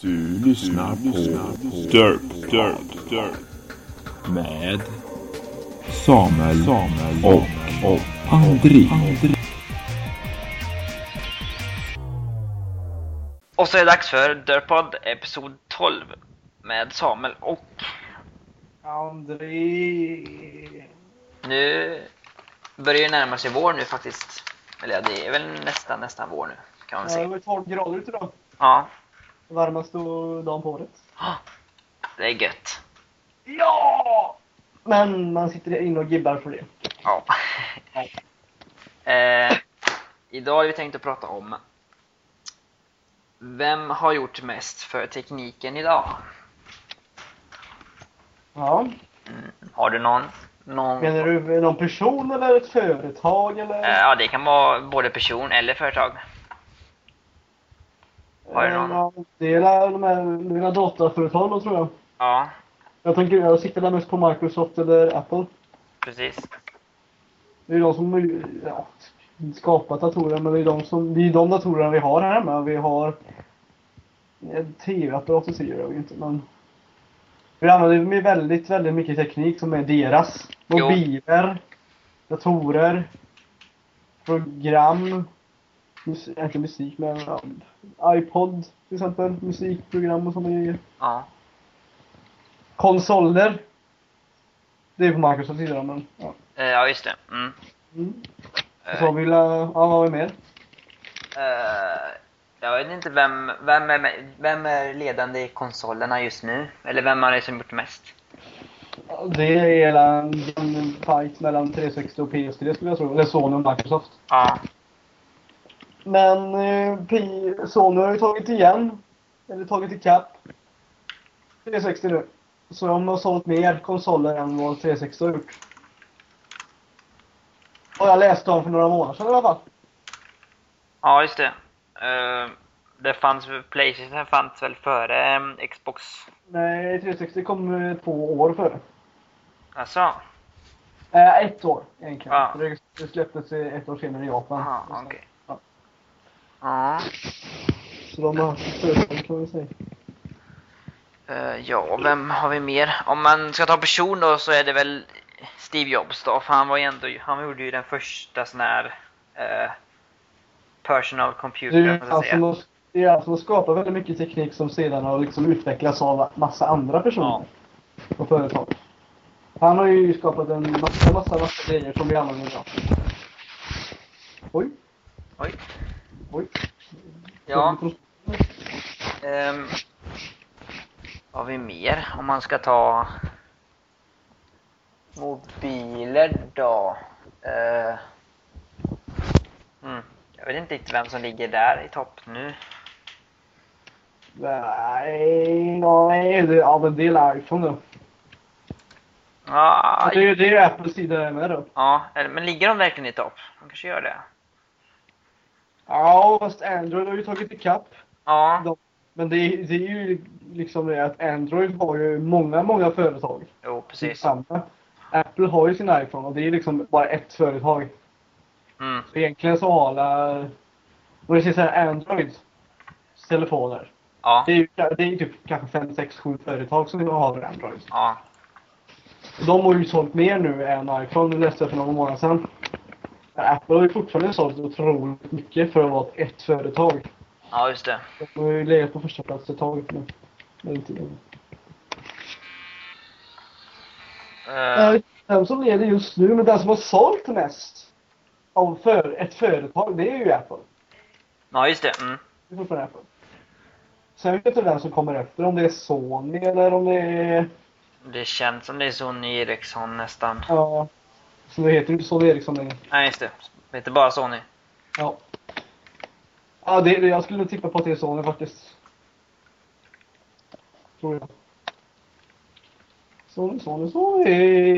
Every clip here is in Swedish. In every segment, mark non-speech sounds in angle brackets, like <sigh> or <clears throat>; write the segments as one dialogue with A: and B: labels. A: Du lyssnar på Dirt, Dirt, Dirt med Samuel, Samuel och, och André.
B: Och så är det dags för Dörrpodd episod 12 med Samuel och
C: André.
B: nu börjar det närma sig vår nu faktiskt. Eller ja, det är väl nästan, nästan vår nu kan man
C: Ja, det
B: säga.
C: var 12 grader ute idag.
B: Ja,
C: Varmaste dagen på året.
B: det är gött.
C: Ja! Men man sitter inne och gibbar för det.
B: Ja. eh, idag har vi tänkt att prata om vem har gjort mest för tekniken idag?
C: Ja.
B: Mm, Har du någon? någon
C: Menar du någon person eller ett företag eller?
B: Eh, ja, det kan vara både person eller företag. har du någon?
C: Eh, Ja, det är där de här mina dataföretag då, tror jag.
B: Ja,
C: Jag tänker, jag siktar där mest på Microsoft eller Apple.
B: precis.
C: Det är de som har, ja, skapat datorer, men det är de, som, det är de datorerna vi har här hemma. Vi har en TV-apparat och så gör vi inte, men vi använder med väldigt, väldigt mycket teknik som är deras.
B: Jo.
C: Mobiler, datorer, program, mus- ja, inte musik men ja, iPod till exempel, musikprogram och sådana grejer.
B: Ja,
C: Konsoler. Det är på Microsofts sida men ja.
B: eh, ja just det. Mm.
C: Mm.
B: Eh,
C: Så vill jag, ja vad var det mer?
B: Eh, jag vet inte vem, vem, är, vem är ledande i konsolerna just nu? Eller vem har det som gjort mest?
C: Ja, Det är hela en en fight mellan 360 och PS3 skulle jag tro. Eller Sony och Microsoft.
B: Ja,
C: Men eh, P- Sony har ju tagit igen. Eller tagit ikapp. 360 nu. Så de har sålt mer konsoler än vad 360 har gjort. Och jag läste om för några månader sedan i alla fall.
B: ja just det. Eh, det fanns, Playstation fanns väl före eh, Xbox?
C: Nej, 360 kom eh, två år före.
B: Alltså,
C: Eh, ett år egentligen.
B: Ja.
C: För Det, det släpptes eh, ett år senare i Japan.
B: Aha, Ah, okej.
C: Ja.
B: Ja,
C: Så de har haft företag kan man säga.
B: eh, ja, vem har vi mer? Om man ska ta person då så är det väl Steve Jobs då, för han var ju ändå, han gjorde ju den första sån här eh, personal
C: Det
B: computer,
C: är
B: man ska
C: alltså
B: säga.
C: de, det är alltså de skapar väldigt mycket teknik som sedan har liksom utvecklats av massa andra personer och företag. Han har ju skapat en massa, massa, massa grejer som vi använder idag. Oj,
B: Oj.
C: oj.
B: Ja.
C: liksom-
B: Ehm, vad har vi mer? Om man ska ta mobiler då. Eh, mm, jag vet inte riktigt vem som ligger där i topp nu.
C: Nej, nej, det, ja men det är iPhone då.
B: Ah,
C: Det, är- det är ju Apples sida med då.
B: ja, eller- men ligger de verkligen i topp? De kanske gör det.
C: Ja, fast Android har ju tagit ikapp.
B: Ja,
C: De- Men det, är- det är ju liksom det att Android har ju många, många företag.
B: jo precis.
C: samma. Apple har ju sin iPhone och det är liksom bara ett företag.
B: Mm,
C: Så egentligen så har alla... Om vi säger såhär Android telefoner.
B: ja,
C: Det är ju det är ju typ kanske 5, 6, 7 företag som har Android.
B: ja,
C: De har ju sålt mer nu än iPhone, det läste jag för några månader sedan. Men Apple har ju fortfarande sålt otroligt mycket för att vara ett företag.
B: ja just det.
C: De har ju legat på första plats ett tag nu. Men inte länge.
B: Eh,
C: Eh, Den som leder just nu, men den som har sålt mest av för, ett företag, det är ju Apple.
B: ja just det. Mm.
C: Det är fortfarande Apple. Sen vet jag inte vem som kommer efter, om det är Sony eller om det är...
B: Det känns som det är Sony Ericsson nästan.
C: Ja. Så det heter ju inte Sony Ericsson längre.
B: Nej just det. Det heter bara Sony.
C: Ja. Ja, det, det, jag skulle nog tippa på att det är Sony faktiskt. Tror jag. Sony, Sony, Sony.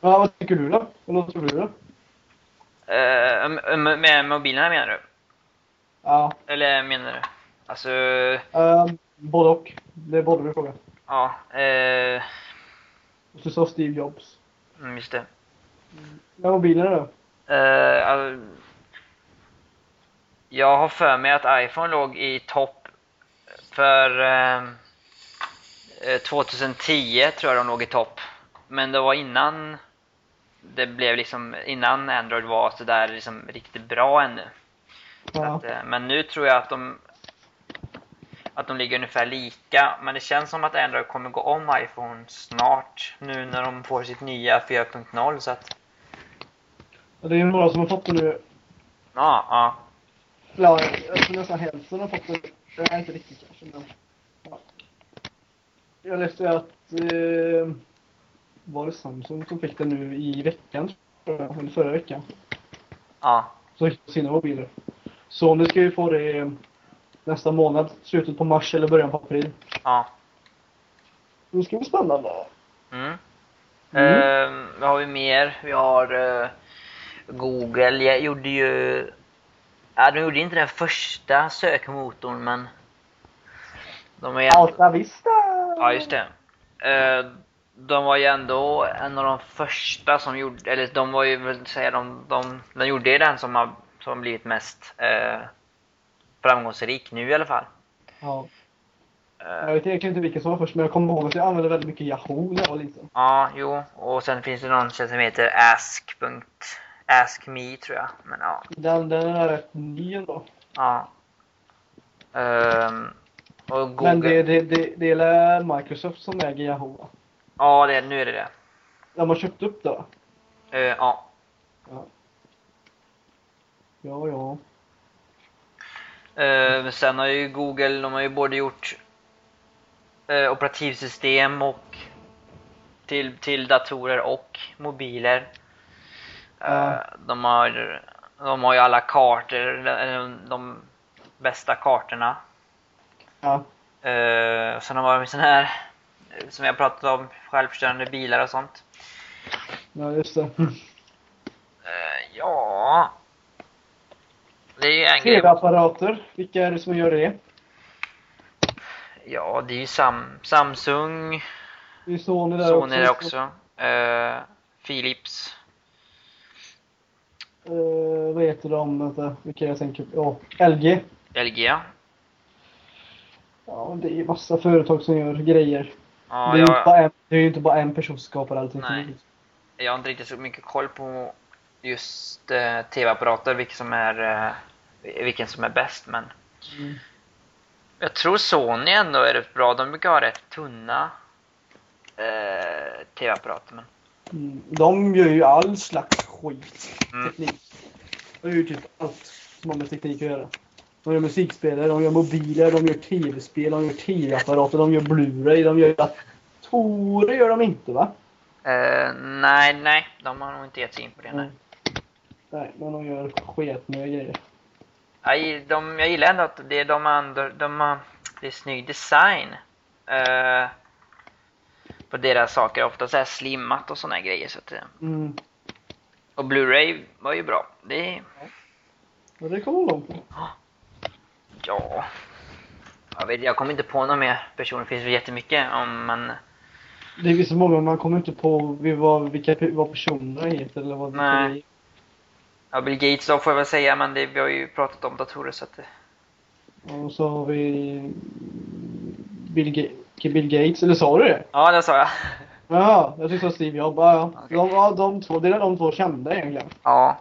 C: Ja, vad tycker du då? Eller vad tror du då?
B: Eh, m- m- med mobilerna menar du?
C: Ja,
B: Eller menar du? Alltså,
C: eh, både och. Det är både du frågar.
B: ja. Eh,
C: Och så sa Steve Jobs.
B: mm, just det.
C: Ja, mobilerna då?
B: Eh, all- jag har för mig att iPhone låg i topp För eh, eh, 2010 tror jag de låg i topp. Men det var innan det blev liksom, innan Android var sådär liksom riktigt bra ännu. Så
C: Ja.
B: Att, eh, men nu tror jag att de att de ligger ungefär lika, men det känns som att Android kommer gå om iPhone snart nu när de får sitt nya 4.0 så att,
C: Det är ju några som har fått det nu.
B: ja, ja.
C: Ja, jag tror nästan hälften har fått det. Det är inte riktigt kanske, men... Ja. Jag läste att... Eh, var det Samsung som fick det nu i veckan? tror jag, Eller förra veckan.
B: ja.
C: Så fick de sina mobiler. Sony ska ju få det eh, nästa månad. Slutet på mars eller början på april.
B: Ja.
C: Det ska bli spännande.
B: Mm.
C: Mm.
B: Eh, vad har vi mer? Vi har eh, Google. Jag gjorde ju... Ja, de gjorde inte den första sökmotorn, men... De är ju ändå...
C: Alta Vista!
B: Ja, just det. Eh, de var ju ändå en av de första som gjorde... Eller de var ju, vill säga, de, de, de gjorde ju den som har som blivit mest eh, framgångsrik nu i alla fall.
C: Ja.
B: Eh,
C: Jag vet egentligen inte vilken som var först, men jag kommer ihåg att jag använde väldigt mycket Yahoo när jag var liten.
B: Ja, jo. Och sen finns det någon tjej som heter ask. ask me tror jag. Men ja.
C: Den, den är rätt ny ändå.
B: ja. Ehm, och Google.
C: Men det, det, det, det är Microsoft som äger Yahoo. va?
B: Ja, det, nu är det det.
C: De har köpt upp det va?
B: Eh, ja.
C: Ja, ja.
B: Ehm, sen har ju Google, de har ju både gjort eh, operativsystem och till, till datorer och mobiler.
C: Ja.
B: Eh, de, har, de har ju alla kartor, eller eh, de bästa kartorna.
C: ja.
B: Uh, sen har vi sån här, eh, som jag pratat om, självkörande bilar och sånt.
C: Ja, just det.
B: Mm.
C: <laughs>
B: Eh, ja... Det är ju en grej.
C: TV-apparater. Vilka är det som gör det?
B: Ja, det är ju Sam, Samsung,
C: Det är Sony där
B: Sony där
C: också.
B: också. Eh, Philips.
C: Eh, vad heter de? Vänta, vilka jag tänker på? Ja, LG.
B: LG. Ja,
C: Ja, det är massa företag som gör grejer. det, är ju inte
B: jag,
C: bara en, det är ju inte bara en person som skapar allting.
B: Nej. jag har inte riktigt så mycket koll på just eh, TV-apparater, vilken som, är, eh, vilken som är bäst. Men
C: Mm.
B: Jag tror Sony ändå är rätt bra. De brukar ha rätt tunna eh, TV-apparater. Men...
C: Mm, De gör ju all slags skit.
B: Mm.
C: Teknik. De gör ju typ allt som har med teknik att göra. De gör musikspelare, de gör mobiler, de gör tv-spel, de gör tv-apparater, de gör Blu-ray, de gör datorer gör de inte va?
B: Eh, nej, nej. De har nog inte gett sig in på det. Nej.
C: Nej, men de gör sketmycket grejer.
B: Jag, gi- de, jag gillar ändå att det är de andra... De har, det är snygg design. Eh, på deras saker. Ofta så här slimmat och såna här grejer. Så att, eh,
C: Mm.
B: och Blu-ray var ju bra. Det,
C: Och det kommer de på.
B: ja... Jag, vet, jag kommer inte på några mer personer. Det finns väl jättemycket om man...
C: Det är ju så många, man kommer inte på vi- vad, vilka, vad personerna heter eller vad
B: Nej. Ja, Bill Gates då får jag väl säga, men det, vi har ju pratat om datorer så att... det-
C: Och så har vi Bill, Ga- Bill Gates, eller sa du det?
B: Ja, det sa jag.
C: Ja, jag tyckte det var Steve Jobs. Ja, ja.
B: Okej.
C: De, ja, de två, det är de två kända egentligen.
B: Ja.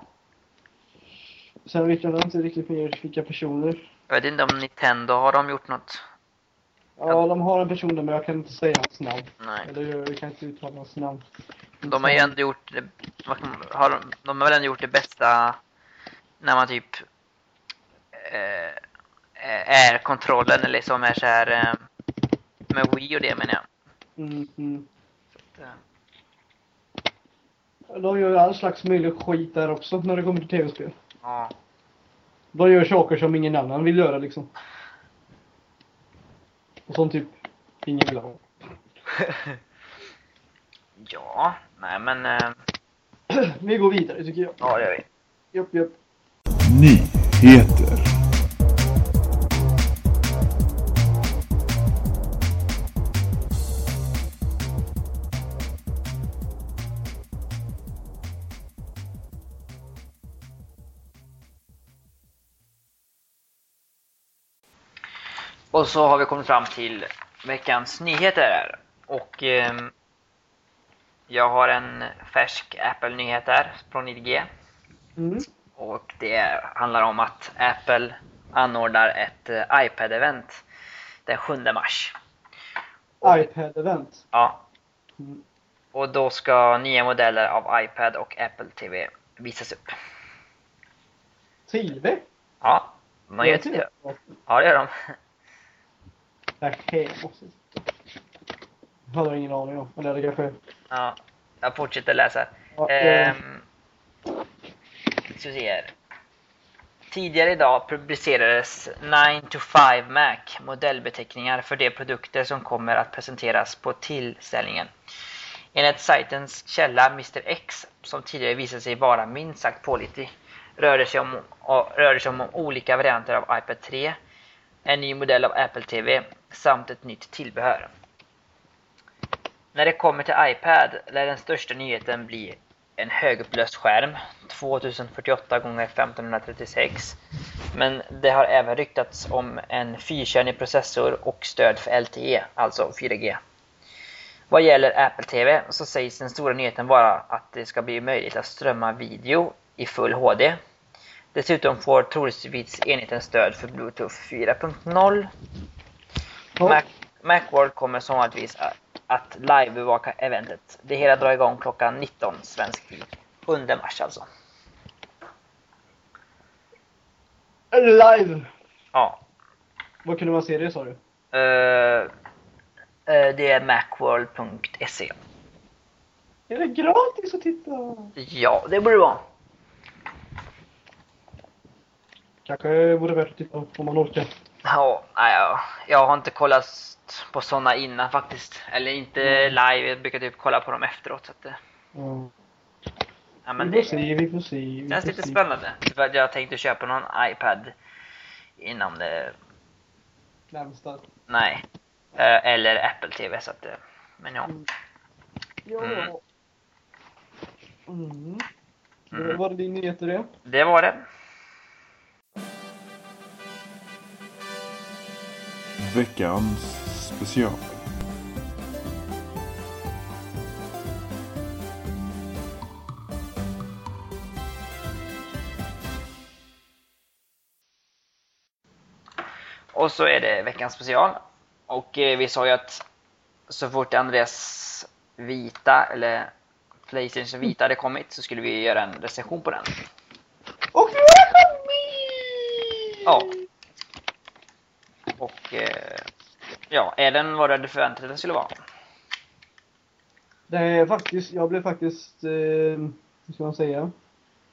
C: Sen vet jag inte riktigt mer vilka personer.
B: Jag vet inte om Nintendo har de gjort något.
C: Ja, de har en person där, men jag kan inte säga hans namn.
B: Nej.
C: Eller jag kan inte uttala hans namn.
B: De har ju ändå gjort, det- vad kan man- har, de- de har väl ändå gjort det bästa när man typ eh, eh, är kontrollen eller som är så här eh, med Wii och det menar jag.
C: Mm, mm.
B: Ja.
C: De gör ju all slags möjlig skit där också när det kommer till tv-spel.
B: Ja.
C: De gör saker som ingen annan vill göra liksom. Och som typ ingen vill ha. <clears throat>
B: ja, nej men eh,
C: Vi går vidare tycker jag.
B: ja det gör vi.
C: Japp, japp.
A: Nyheter.
B: Och så har vi kommit fram till veckans nyheter här. Och ehm, jag har en färsk Apple-nyhet här från IDG.
C: Mm.
B: Och det handlar om att Apple anordnar ett eh, iPad-event den 7 mars. Och-
C: iPad-event.
B: Ja.
C: Mm.
B: Och då ska nya modeller av iPad och Apple TV visas upp.
C: TV?
B: Ja, man gör det. Ja, det gör de.
C: Okej, jag måste... Jag hade ingen aning om. Eller det kanske...
B: Ja, jag fortsätter läsa.
C: Ja, eh,
B: Ehm, ska vi se här. Tidigare idag publicerades 9 to 5 Mac modellbeteckningar för de produkter som kommer att presenteras på tillställningen. Enligt sajtens källa Mr X, som tidigare visade sig vara minst sagt pålitlig, rör det sig om, o- rör det sig om olika varianter av iPad 3, en ny modell av Apple TV samt ett nytt tillbehör. När det kommer till iPad lär den största nyheten bli en högupplöst skärm, 2048 x 1536. Men det har även ryktats om en fyrkärnig processor och stöd för LTE, alltså 4G. Vad gäller Apple TV så sägs den stora nyheten vara att det ska bli möjligt att strömma video i full HD. Dessutom får troligtvis enheten stöd för Bluetooth 4.0 Mac, Macworld kommer som vanligtvis att- att livebevaka eventet. Det hela drar igång klockan 19 svensk tid. 7 mars alltså.
C: Live!
B: Ja.
C: Vad kunde man se det sa du?
B: Eh, eh, det är macworld.se.
C: Är det gratis att titta?
B: Ja, det borde det vara.
C: Kanske vore värt att titta om man orkar.
B: Ja, nej, ja, jag har inte kollat på såna innan faktiskt. Eller inte live, jag brukar typ kolla på dem efteråt. Så att, eh,
C: Ja.
B: ja, men
C: vi
B: det
C: får se, vi får se. Vi
B: känns
C: får
B: lite
C: se.
B: spännande. För att jag tänkte köpa någon iPad innan det
C: Närmsta.
B: Nej. Eh, Eller Apple TV så att, eh, men ja.
C: Ja.
B: Mm.
C: Mm.
B: Mm.
C: Då var det din nyhet i det.
B: Det var det.
A: Veckans special.
B: Och så är det veckans special. Och eh, vi sa ju att så fort Andreas Vita, eller Playstation Vita hade kommit så skulle vi göra en recension på den.
C: Och nu är det min!
B: Ja. Och eh, ja, är den vad du hade förväntat dig att den skulle vara?
C: Det är faktiskt, jag blev faktiskt, eh, hur ska man säga,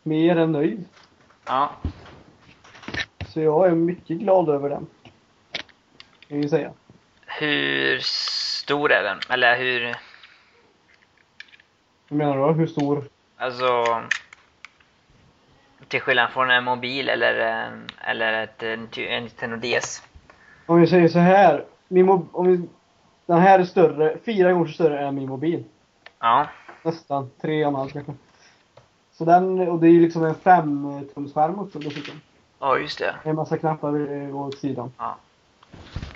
C: mer än nöjd.
B: Ja.
C: Så jag är mycket glad över den. Kan jag ju säga.
B: Hur stor är den? Eller hur,
C: Vad menar du? Hur stor?
B: alltså... Till skillnad från en mobil eller, en- eller ett, eh, en Nintendo DS.
C: Om vi säger så här. Min mo- om vi, den här är större, fyra gånger större än min mobil.
B: Ja.
C: Nästan. Tre och en halv kanske. Så den, och det är ju liksom en femtumsskärm också dessutom.
B: Ja, just det.
C: Det är en massa knappar eh, åt sidan.
B: Ja.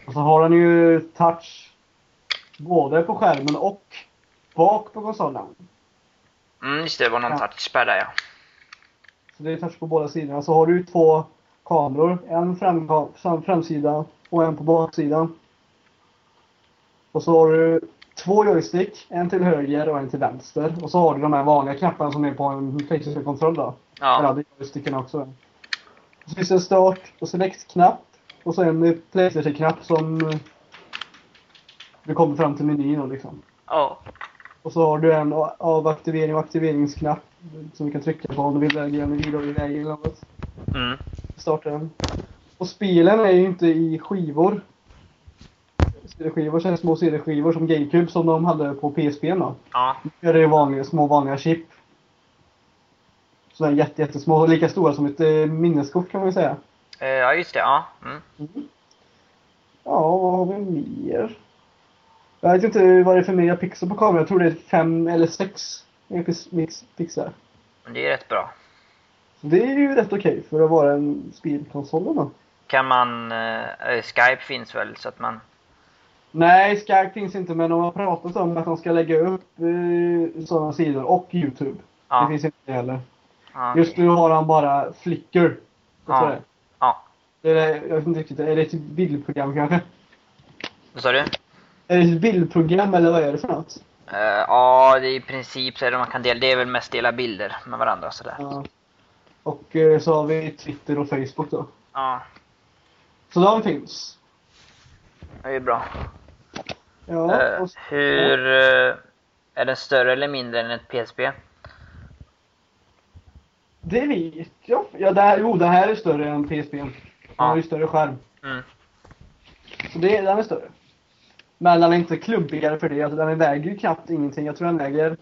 C: Och så har den ju touch både på skärmen och bak på konsolen.
B: Mm, just det, det var någon
C: Ja.
B: touchpad där ja.
C: Så det är touch på båda sidorna. Så har du ju två kameror. En fram, fram, framsida och en på baksidan. Och så har du två joystick. En till höger och en till vänster. Och så har du de här vanliga knapparna som är på en Playstation-kontroll då. Ja.
B: Ja,
C: det gör stycken också. Så finns det en start och select-knapp. Och så en eh, Playstation-knapp som eh, du kommer fram till menyn och liksom.
B: ja.
C: Och så har du en a- avaktivering och aktiveringsknapp som du kan trycka på om du vill välja en video i väg eller något.
B: Mm.
C: Starta den. Och spelen är ju inte i skivor. CD-skivor, så här små CD-skivor som GameCube som de hade på PSP då.
B: ja.
C: Nu är det vanliga, små vanliga chip. Sådana jätte, jättesmå, lika stora som ett eh, minneskort kan man ju säga.
B: Eh, Ja, just det. Ja. Mm.
C: Ja, vad har vi mer? Jag vet inte vad det är för mer pixlar på kameran. Jag tror det är fem eller sex pix- mix- pixlar.
B: Men Det är rätt bra.
C: Så det är ju rätt okej för att vara en spelkonsol. Då.
B: kan man... Eh, Skype finns väl så att man...
C: Nej, Skype finns inte, men de har pratat om att de ska lägga upp eh, sådana sidor och YouTube. Det
B: Ja,
C: finns inte heller.
B: ja,
C: Just nu har han bara Flickr. Jag
B: Ja.
C: tror det.
B: ja.
C: Det är, det- jag vet inte riktigt, är det ett bildprogram kanske?
B: Vad sa du?
C: Är det ett bildprogram eller vad är det för något?
B: Eh, Ja, det är i princip så är det man kan dela. Det är väl mest dela bilder med varandra och sådär.
C: Ja. Och eh, så har vi Twitter och Facebook då.
B: Ja,
C: Så de finns.
B: det är ju bra.
C: Ja,
B: Eh,
C: och,
B: Hur... eh, Är den större eller mindre än ett PSP?
C: det vet jag. Ja, det här, jo, det här är större än PSP. Den har ju större skärm.
B: Mm.
C: Så det, den är större. Men den är inte klubbigare för det. Alltså, den väger ju knappt ingenting. Jag tror den väger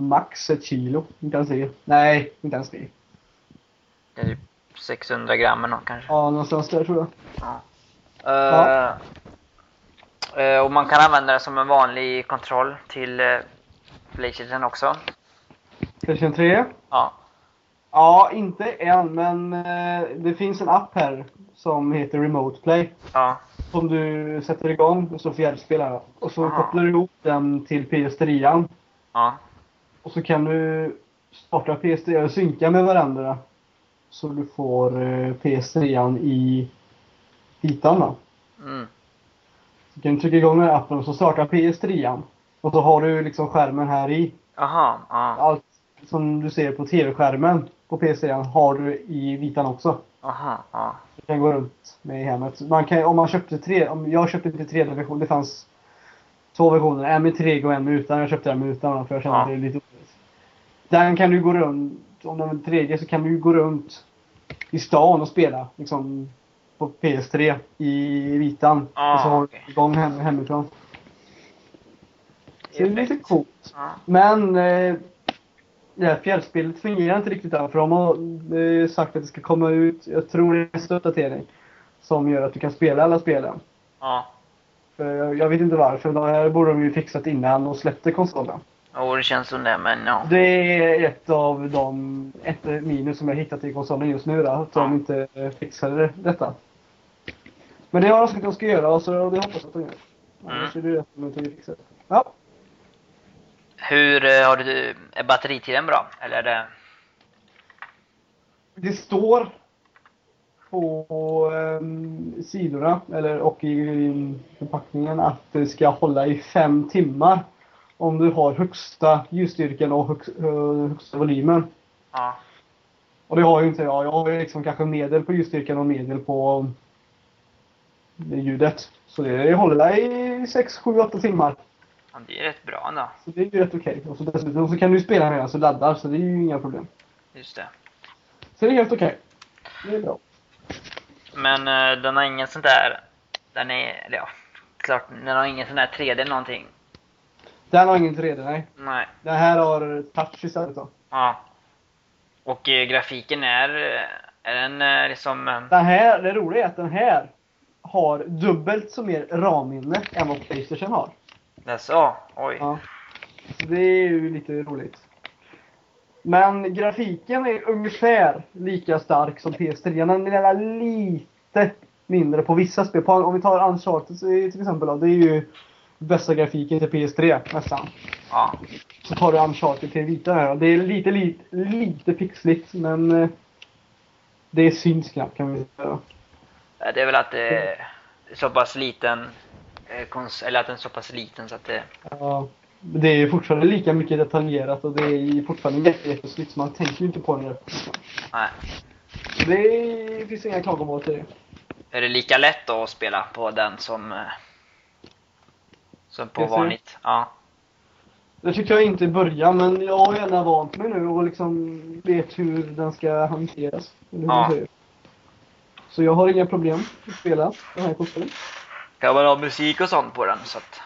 C: max ett kilo. Inte ens det. Nej, inte ens det.
B: Det är typ 600 gram eller något kanske.
C: Ja, någonstans där tror jag.
B: Eh,
C: Ja.
B: eh, och man kan använda den som en vanlig kontroll till uh, Playstation också.
C: Playstation 3?
B: Ja.
C: Ja, inte än, men eh, det finns en app här som heter Remote Play.
B: Ja.
C: Som du sätter igång och så fjärrspelar Och så
B: Ah.
C: kopplar du ihop den till PS3.
B: Ja.
C: Och så kan du starta PS3 och synka med varandra. Så du får eh, PS3 i hitan då.
B: Mm.
C: Du kan trycka igång den här appen och så startar PS3. Och så har du liksom skärmen här i.
B: Aha. Ja.
C: Allt som du ser på TV-skärmen på PS3 har du i vitan också.
B: Aha. Ja.
C: Du kan gå runt med i hemmet. Man kan, om man köpte tre, om jag köpte inte tredje version. Det fanns två versioner. En med 3G och en med utan. Jag köpte den med utan för jag kände
B: Ja.
C: att det är lite onödigt. Den kan du gå runt. Om den är 3G så kan du gå runt i stan och spela. Liksom på PS3 i vitan.
B: Ah,
C: och så har du
B: okej.
C: igång hem, hemifrån. Så det är lite
B: Perfekt.
C: coolt.
B: Ja.
C: Men eh, det här fjällspelet fungerar inte riktigt där. För de har eh, sagt att det ska komma ut, jag tror det är nästa uppdatering. Som gör att du kan spela alla spelen.
B: Ja.
C: För jag, jag vet inte varför. Det här borde de ju fixat innan och släppte konsolen.
B: Jo, det känns som det, men ja.
C: Det är ett av de ett minus som jag hittat i konsolen just nu. Då, att de inte eh, fixade detta. Men det har de sagt att de ska göra och så det hoppas jag att de gör. Annars är det det som de tänker fixa. Ja.
B: Hur eh, har du... Är batteritiden bra? Eller är det...
C: Det står på ehm, sidorna eller, och i, förpackningen att det ska hålla i fem timmar om du har högsta ljusstyrkan och högst, eh, högsta volymen.
B: Ja.
C: Och det har ju inte jag. Jag har ju liksom kanske medel på ljusstyrkan och medel på eh, ljudet. Så det håller i 6, 7, 8 timmar.
B: ja, Det är rätt bra ändå.
C: Så det är ju rätt okej. Och så dessutom så kan du ju spela medan du laddar så det är ju inga problem.
B: Just det.
C: Så det är helt okej. Det är bra.
B: Men eh, den har ingen sån där... Den är... Eller ja. Klart, den har ingen sån där 3D någonting.
C: Den har ingen 3D, nej.
B: Nej.
C: Det här har liksom. touch istället då.
B: Ja. Och eh, grafiken är... eh, Är den eh, liksom... eh,
C: Den här, det roliga är att den här har dubbelt så mer RAM-minne än vad Playstation har.
B: Jaså? Oj.
C: Ja. Så det är ju lite roligt. Men grafiken är ungefär lika stark som PS3. Den är lite mindre på vissa spel. På, om vi tar Uncharted så är- till exempel då, det är ju bästa grafiken till PS3 nästan.
B: Ja.
C: Så tar du Uncharted till vita här. Det är lite, lite, lite pixligt men eh, det syns knappt kan vi säga.
B: Det är väl att det är så pass liten... eh, Kons- eller att den är så pass liten så att eh, det...
C: Ja, det är fortfarande lika mycket detaljerat och det är fortfarande jätte- jättesnyggt så man tänker ju inte på det.
B: Nej.
C: Det finns inga klagomål till det.
B: Är det lika lätt då att spela på den som... eh, Som på
C: Jag ser.
B: vanligt? Ja.
C: Det tyckte jag inte i början men jag har gärna vant mig nu och liksom vet hur den ska hanteras. eller hur man
B: Ja.
C: säger. Så jag har inga problem att spela den här korten.
B: Kan man ha musik och sånt på den så att...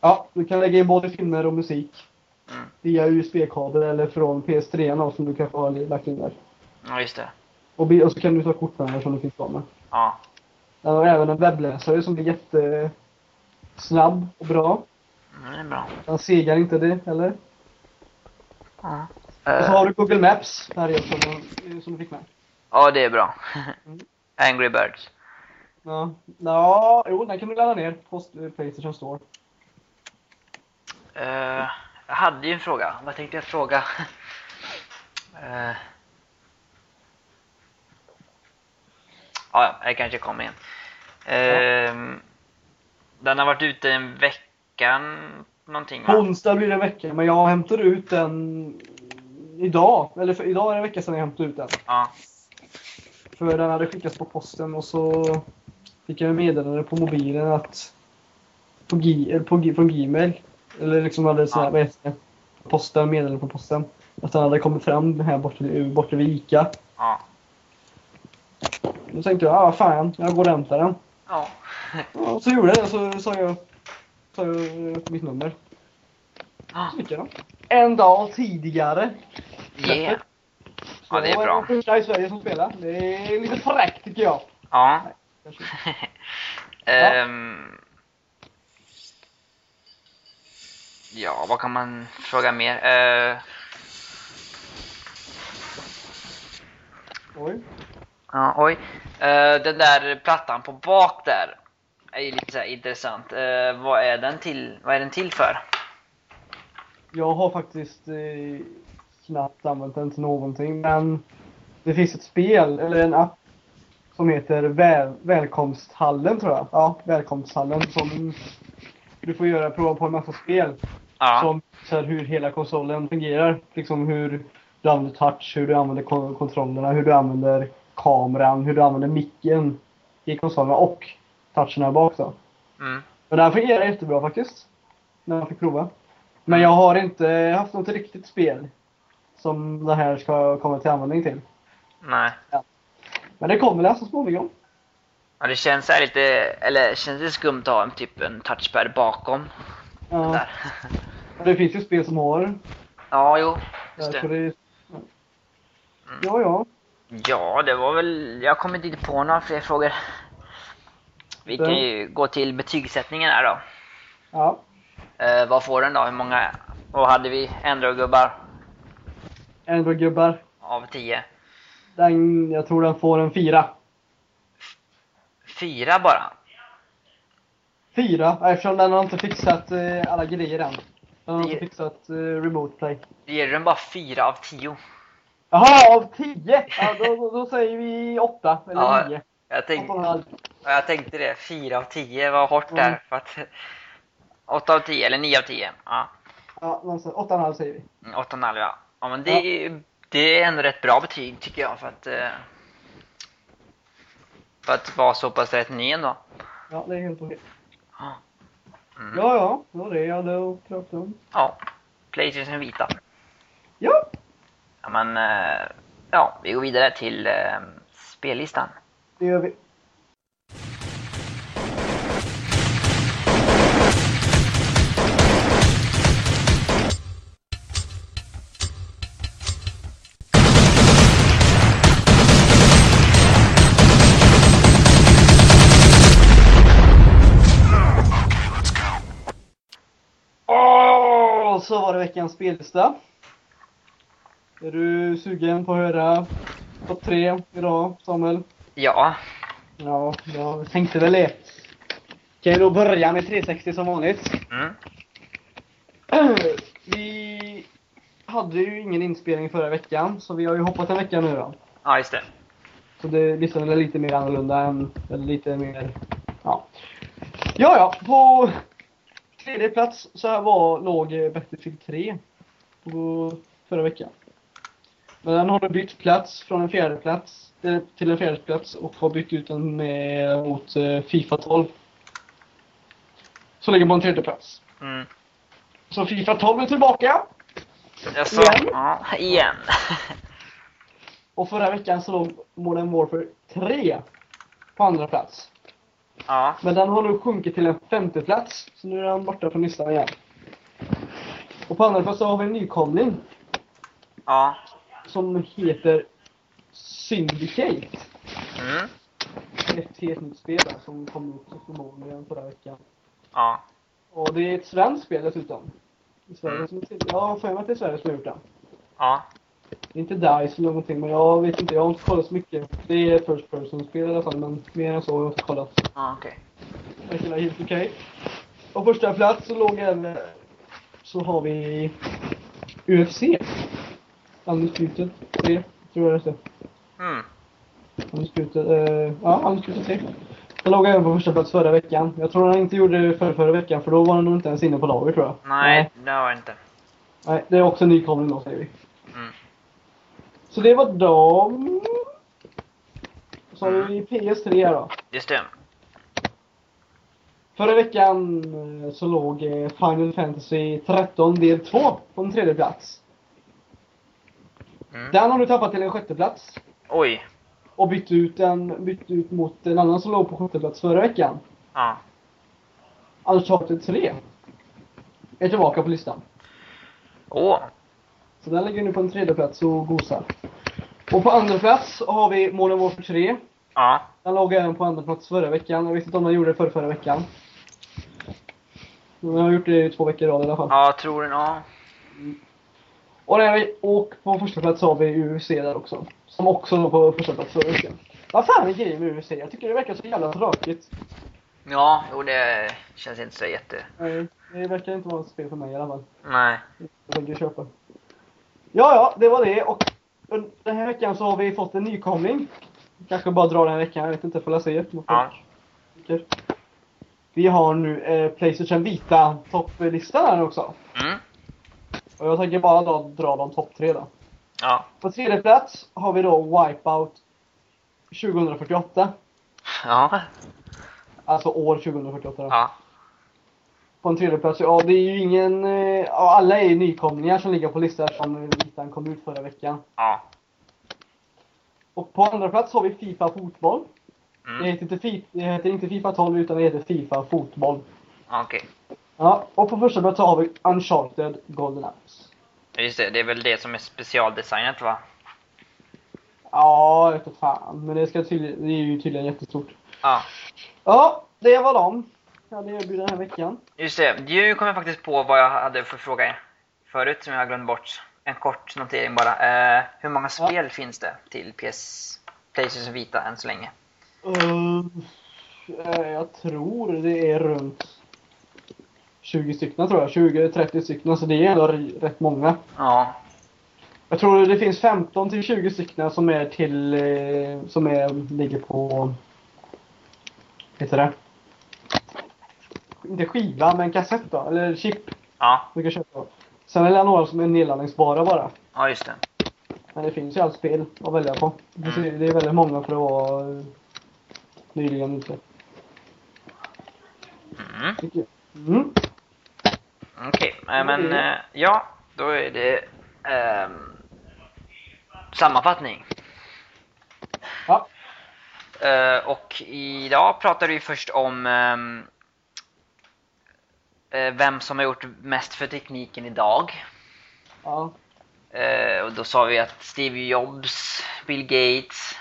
C: Ja, du kan lägga in både filmer och musik.
B: Mm.
C: Via USB-kabel eller från PS3 då, som du kanske har lagt in där.
B: Ja, just det.
C: Och, bi- och så kan du ta kort med den som du finns kvar med.
B: Ja.
C: Den har även en webbläsare som är jättesnabb och bra.
B: Mm, Det är bra.
C: Den segar inte det heller.
B: Ja.
C: Och så
B: Eh,
C: har du Google Maps här i som, som du fick med.
B: Ja, det är bra. <laughs> Angry Birds.
C: Ja, ja jo, den kan du ladda ner på Playstation Store.
B: Eh, jag hade ju en fråga. Vad tänkte jag fråga? <laughs> Eh. ja, ja, det kanske kommer igen. Eh, Den har varit ute en vecka någonting
C: På
B: va?
C: onsdag blir det en vecka, men jag hämtar ut den idag. Eller för idag är det en vecka sedan jag hämtade ut den.
B: Ja.
C: För den hade skickats på posten och så fick jag meddelande på mobilen att på, G, eller på G, från Gmail. Eller liksom hade sån här,
B: Ja.
C: vad heter det? Posten, meddelande på posten. Att den hade kommit fram här borta, borta vid ICA.
B: Ja.
C: Då tänkte jag, ah fan, jag går och hämtar den.
B: ja.
C: Ja, Och så gjorde jag det, så sa jag, sa jag mitt nummer.
B: Ah,
C: Så fick jag den. En dag tidigare.
B: Yeah. Ja, det är
C: Så var
B: bra.
C: den första i Sverige som spelar. Det är lite fräckt tycker jag.
B: Ja.
C: Kanske.
B: Ehm. ja, vad kan man fråga mer? Eh,
C: Oj.
B: ja, oj. Eh, den där plattan på bak där är ju lite så här intressant. Eh, vad, är den till, vad är den till för?
C: Jag har faktiskt eh, knappt använt den till någonting, men det finns ett spel, eller en app, som heter Väl Välkomsthallen tror jag. Ja, Välkomsthallen som du får göra, prova på en massa spel
B: Ja.
C: som visar hur hela konsolen fungerar. Liksom hur du använder touch, hur du använder kon- kontrollerna, hur du använder kameran, hur du använder micken i konsolerna och touchen här bak då.
B: Mm.
C: Men den fungerar jättebra faktiskt. När man fick prova. Men jag har inte haft något riktigt spel som det här ska komma till användning till.
B: Nej.
C: Men det kommer väl så småningom.
B: Ja, det känns så här lite, eller känns det skumt att ha en typ en touchpad bakom?
C: Ja,
B: Där.
C: men det finns ju spel som har
B: Ja, jo. Just
C: det. så
B: det. Mm.
C: det. Ja, ja.
B: Ja, det var väl, jag kommer inte på några fler frågor. Vi kan ju gå till betygssättningen här då.
C: ja.
B: Eh, vad får den då? Hur många? Vad hade vi? Android-gubbar
C: Android-gubbar.
B: av 10?
C: Den, jag tror den får en fyra.
B: Fyra bara?
C: Fyra, eftersom den har inte fixat eh, alla grejer än. Den har inte
B: Det-
C: fixat eh, remote play.
B: Det ger den bara fyra av 10.
C: Jaha, av tio! Ja, då, då, då säger vi åtta, eller
B: Ja,
C: nio.
B: Jag
C: Åtta och en
B: tänkte,
C: halv.
B: jag tänkte det, fyra av 10 var hårt
C: Mm.
B: där. För att, 8 av 10, eller 9 av 10. Ja, mm,
C: Ja, någonstans. Åtta och en halv säger vi.
B: 8,5 ja. ja men det, är- det är ändå rätt bra betyg tycker jag för att... eh, För att vara så pass rätt ny ändå.
C: Ja, det är helt okej.
B: Ja. Mm.
C: Ja, ja, det var det jag hade att prata om.
B: Ja. Playstation Vita.
C: Ja!
B: Ja, men, eh, ja, vi går vidare till eh, spellistan.
C: Det gör vi. Åh, Så var det veckans spellista. Är du sugen på att höra topp tre idag, Samuel?
B: Ja,
C: Ja, jag tänkte väl det. Kan ju då börja med 360 som vanligt. <clears throat>
B: mm,
C: Vi hade ju ingen inspelning förra veckan, så vi har ju hoppat en vecka nu då.
B: ja just det.
C: Så det listan är lite mer annorlunda än, eller lite mer, ja. Ja, ja. På tredje plats så här var, låg eh, Battlefield 3 på förra veckan. Men den har då bytt plats från en fjärde plats eh, till en fjärde plats och har bytt ut den med, mot eh, Fifa 12. Så ligger på en tredje plats.
B: Mm.
C: Så Fifa 12 är tillbaka.
B: Jag sa,
C: Igen?
B: ja, igen.
C: Och förra veckan så låg Modern Warfare 3 på andra plats.
B: ja,
C: Men den har nu sjunkit till en femte plats. Så nu är den borta från listan igen. Och på andra plats så har vi en nykomling
B: ja.
C: som heter Syndicate.
B: Mm,
C: Ett helt nytt spel där, som kom ut så förmodligen förra veckan.
B: ja.
C: Och det är ett svenskt spel dessutom. I Sverige
B: Mm.
C: som är till- Jag har för mig att det är Sverige som har gjort det.
B: Ja.
C: inte DICE eller någonting, men jag vet inte. Jag har inte kollat så mycket. Det är First Person-spel i alla fall, men mer än så har jag inte kollat.
B: Ja, okej.
C: verkar vara helt okej. På första plats så låg även så har vi UFC. Undisputed 3, tror jag det heter.
B: Mm.
C: Undisputed, eh, ja, Undisputed 3. Den låg även på första plats förra veckan. Jag tror han inte gjorde det förra, förra veckan för då var han nog inte ens inne på laget tror jag.
B: Nej, det var det inte.
C: Nej, det är också en nykomling då säger vi.
B: Mm.
C: Så det var dem. Så har vi PS3 då.
B: Just det.
C: Förra veckan eh, så låg eh, Final Fantasy 13 del 2 på en tredje plats.
B: Mm.
C: Den har nu tappat till en sjätte plats
B: Oj.
C: och bytt ut, den, bytt ut mot en annan som låg på sjätte plats förra veckan.
B: Ja.
C: Uncharted 3. Är tillbaka på listan.
B: Åh.
C: Så den ligger nu på en tredje plats och gosar. Och på andra plats har vi Modern Warfare 3.
B: Ja.
C: Den låg även på andra plats förra veckan. Jag vet inte om den gjorde det förra, förra veckan. Men den har gjort det i två veckor i rad i alla fall.
B: Ja, tror den. Ja.
C: Och, där vi, och på första plats har vi UFC där också. Som också låg på första plats förra veckan. Vad fan är grejen med UFC? Jag tycker det verkar så jävla tråkigt.
B: Ja, jo det känns inte så jätte...
C: Nej, det verkar inte vara ett spel för mig i alla fall.
B: Nej.
C: Jag tänker köpa. Ja, ja, det var det. Och un- den här veckan så har vi fått en nykomling. Kanske bara dra den här veckan, jag vet inte. Får jag se. vad
B: Ja.
C: folk tycker. Vi har nu eh, Playstation Vita topplistan här också.
B: Mm.
C: Och jag tänker bara dra, dra de topp tre då.
B: Ja.
C: På tredje plats har vi då Wipeout 2048.
B: Ja.
C: Alltså år 2048. då.
B: Ja.
C: På en tredje plats. Ja, det är ju ingen... eh, Ja, alla är ju nykomlingar som ligger på listan som Vitan kom ut förra veckan.
B: Ja.
C: Och på andra plats har vi Fifa Fotboll. Det,
B: Mm.
C: heter inte Fi- det heter inte Fifa 12 utan det heter Fifa Fotboll.
B: Ja, Okej.
C: Ja, och på första plats har vi Uncharted Golden Apps.
B: Just det, det är väl det som är specialdesignat va?
C: Ja, jag vet inte fan. Men det, ska tydligen, det är ju tydligen jättestort.
B: Ja.
C: Ja, det var dem. Jag hade erbjudit den här veckan.
B: Just det, nu kom jag faktiskt på vad jag hade för fråga förut som jag glömde bort. En kort notering bara. Eh, hur många spel finns det till PS... Playstation Vita än så länge?
C: Uh, eh, jag tror det är runt 20 stycken tror jag. 20-30 stycken. Så det är ändå r- rätt många.
B: Ja.
C: Jag tror det finns 15 till 20 stycken som är till... eh, Som är, ligger på... Heter det? Inte skiva, men kassett då. Eller chip.
B: Ja,
C: Du kan köpa. då. Sen är det några som är nedladdningsbara bara.
B: ja just det.
C: Men det finns ju allt spel att välja på. Det ser-
B: Mm.
C: det är väldigt många för att vara eh, nyligen ute.
B: Mm.
C: tycker jag. Mm.
B: Okej, eh, men
C: Mm.
B: eh, ja, då är det ehm, sammanfattning.
C: Ja.
B: Eh, och idag pratade vi först om ehm, eh, vem som har gjort mest för tekniken idag.
C: ja.
B: Eh, och då sa vi att Steve Jobs, Bill Gates,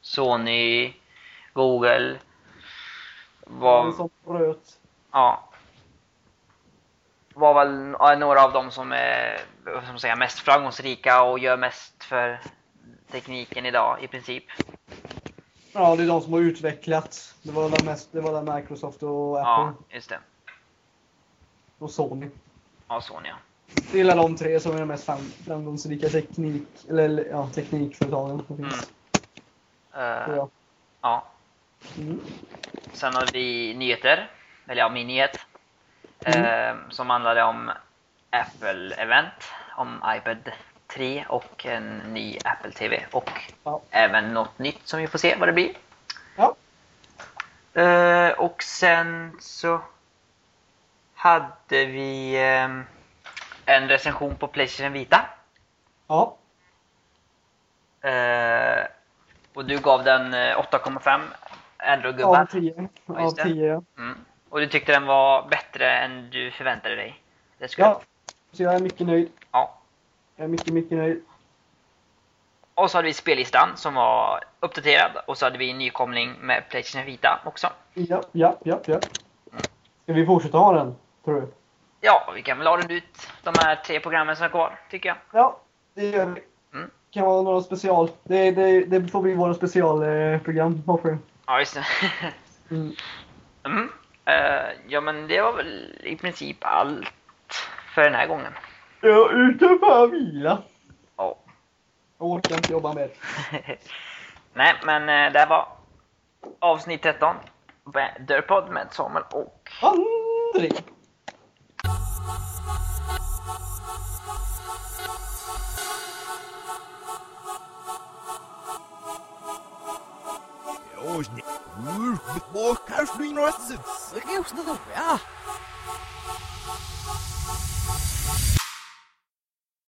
B: Sony, Google var...
C: En som bröt.
B: Ja. Var väl ja, några av dem som är vad ska man säga, mest framgångsrika och gör mest för tekniken idag i princip.
C: Ja, det är de som har utvecklat. Det var där, mest, det var där Microsoft och
B: Ja,
C: Apple
B: just det.
C: och Sony.
B: Ja, Sony. ja.
C: Det är väl de tre som är de mest fram- framgångsrika teknik, eller, eller, ja, teknikföretagen som finns.
B: Mm. Eh,
C: tror jag.
B: ja.
C: Mm.
B: Sen hade vi nyheter, eller ja, min nyhet.
C: Mm.
B: Eh, som handlade om Apple-event, om iPad 3 och en ny Apple TV. Och
C: Ja.
B: även något nytt som vi får se vad det blir.
C: Ja.
B: Eh, och sen så hade vi ehm, en recension på Playstation Vita.
C: ja.
B: Eh, och du gav den eh, 8,5 Android-gubbar.
C: Av 10.
B: Ja,
C: Av
B: just det.
C: 10, ja.
B: Mm. Och du tyckte den var bättre än du förväntade dig? Det skulle
C: ja. Så jag är mycket nöjd.
B: ja.
C: Jag är mycket, mycket nöjd.
B: Och så hade vi spellistan som var uppdaterad och så hade vi en nykomling med Playstation Vita också.
C: Ja, ja, ja, ja. Ska vi fortsätta ha den, tror du?
B: Ja, vi kan väl ha den ut de här tre programmen som är kvar, tycker jag.
C: Ja, det gör vi.
B: Mm.
C: kan vara några special. Det, det, det får bli våra eh, specialprogram. Varför?
B: Ja, just det. <laughs>
C: Mm.
B: Mm. Eh, ja, men det var väl i princip allt för den här gången.
C: Jag är ute för att vila.
B: Ja. <laughs>
C: Jag orkar inte jobba mer.
B: Nej, men eh, det här var avsnitt 13. Vä- Dörrpodd med Samuel och...
C: André!
D: Ой, не- Ух, бог, каждый раз это серьезно, да?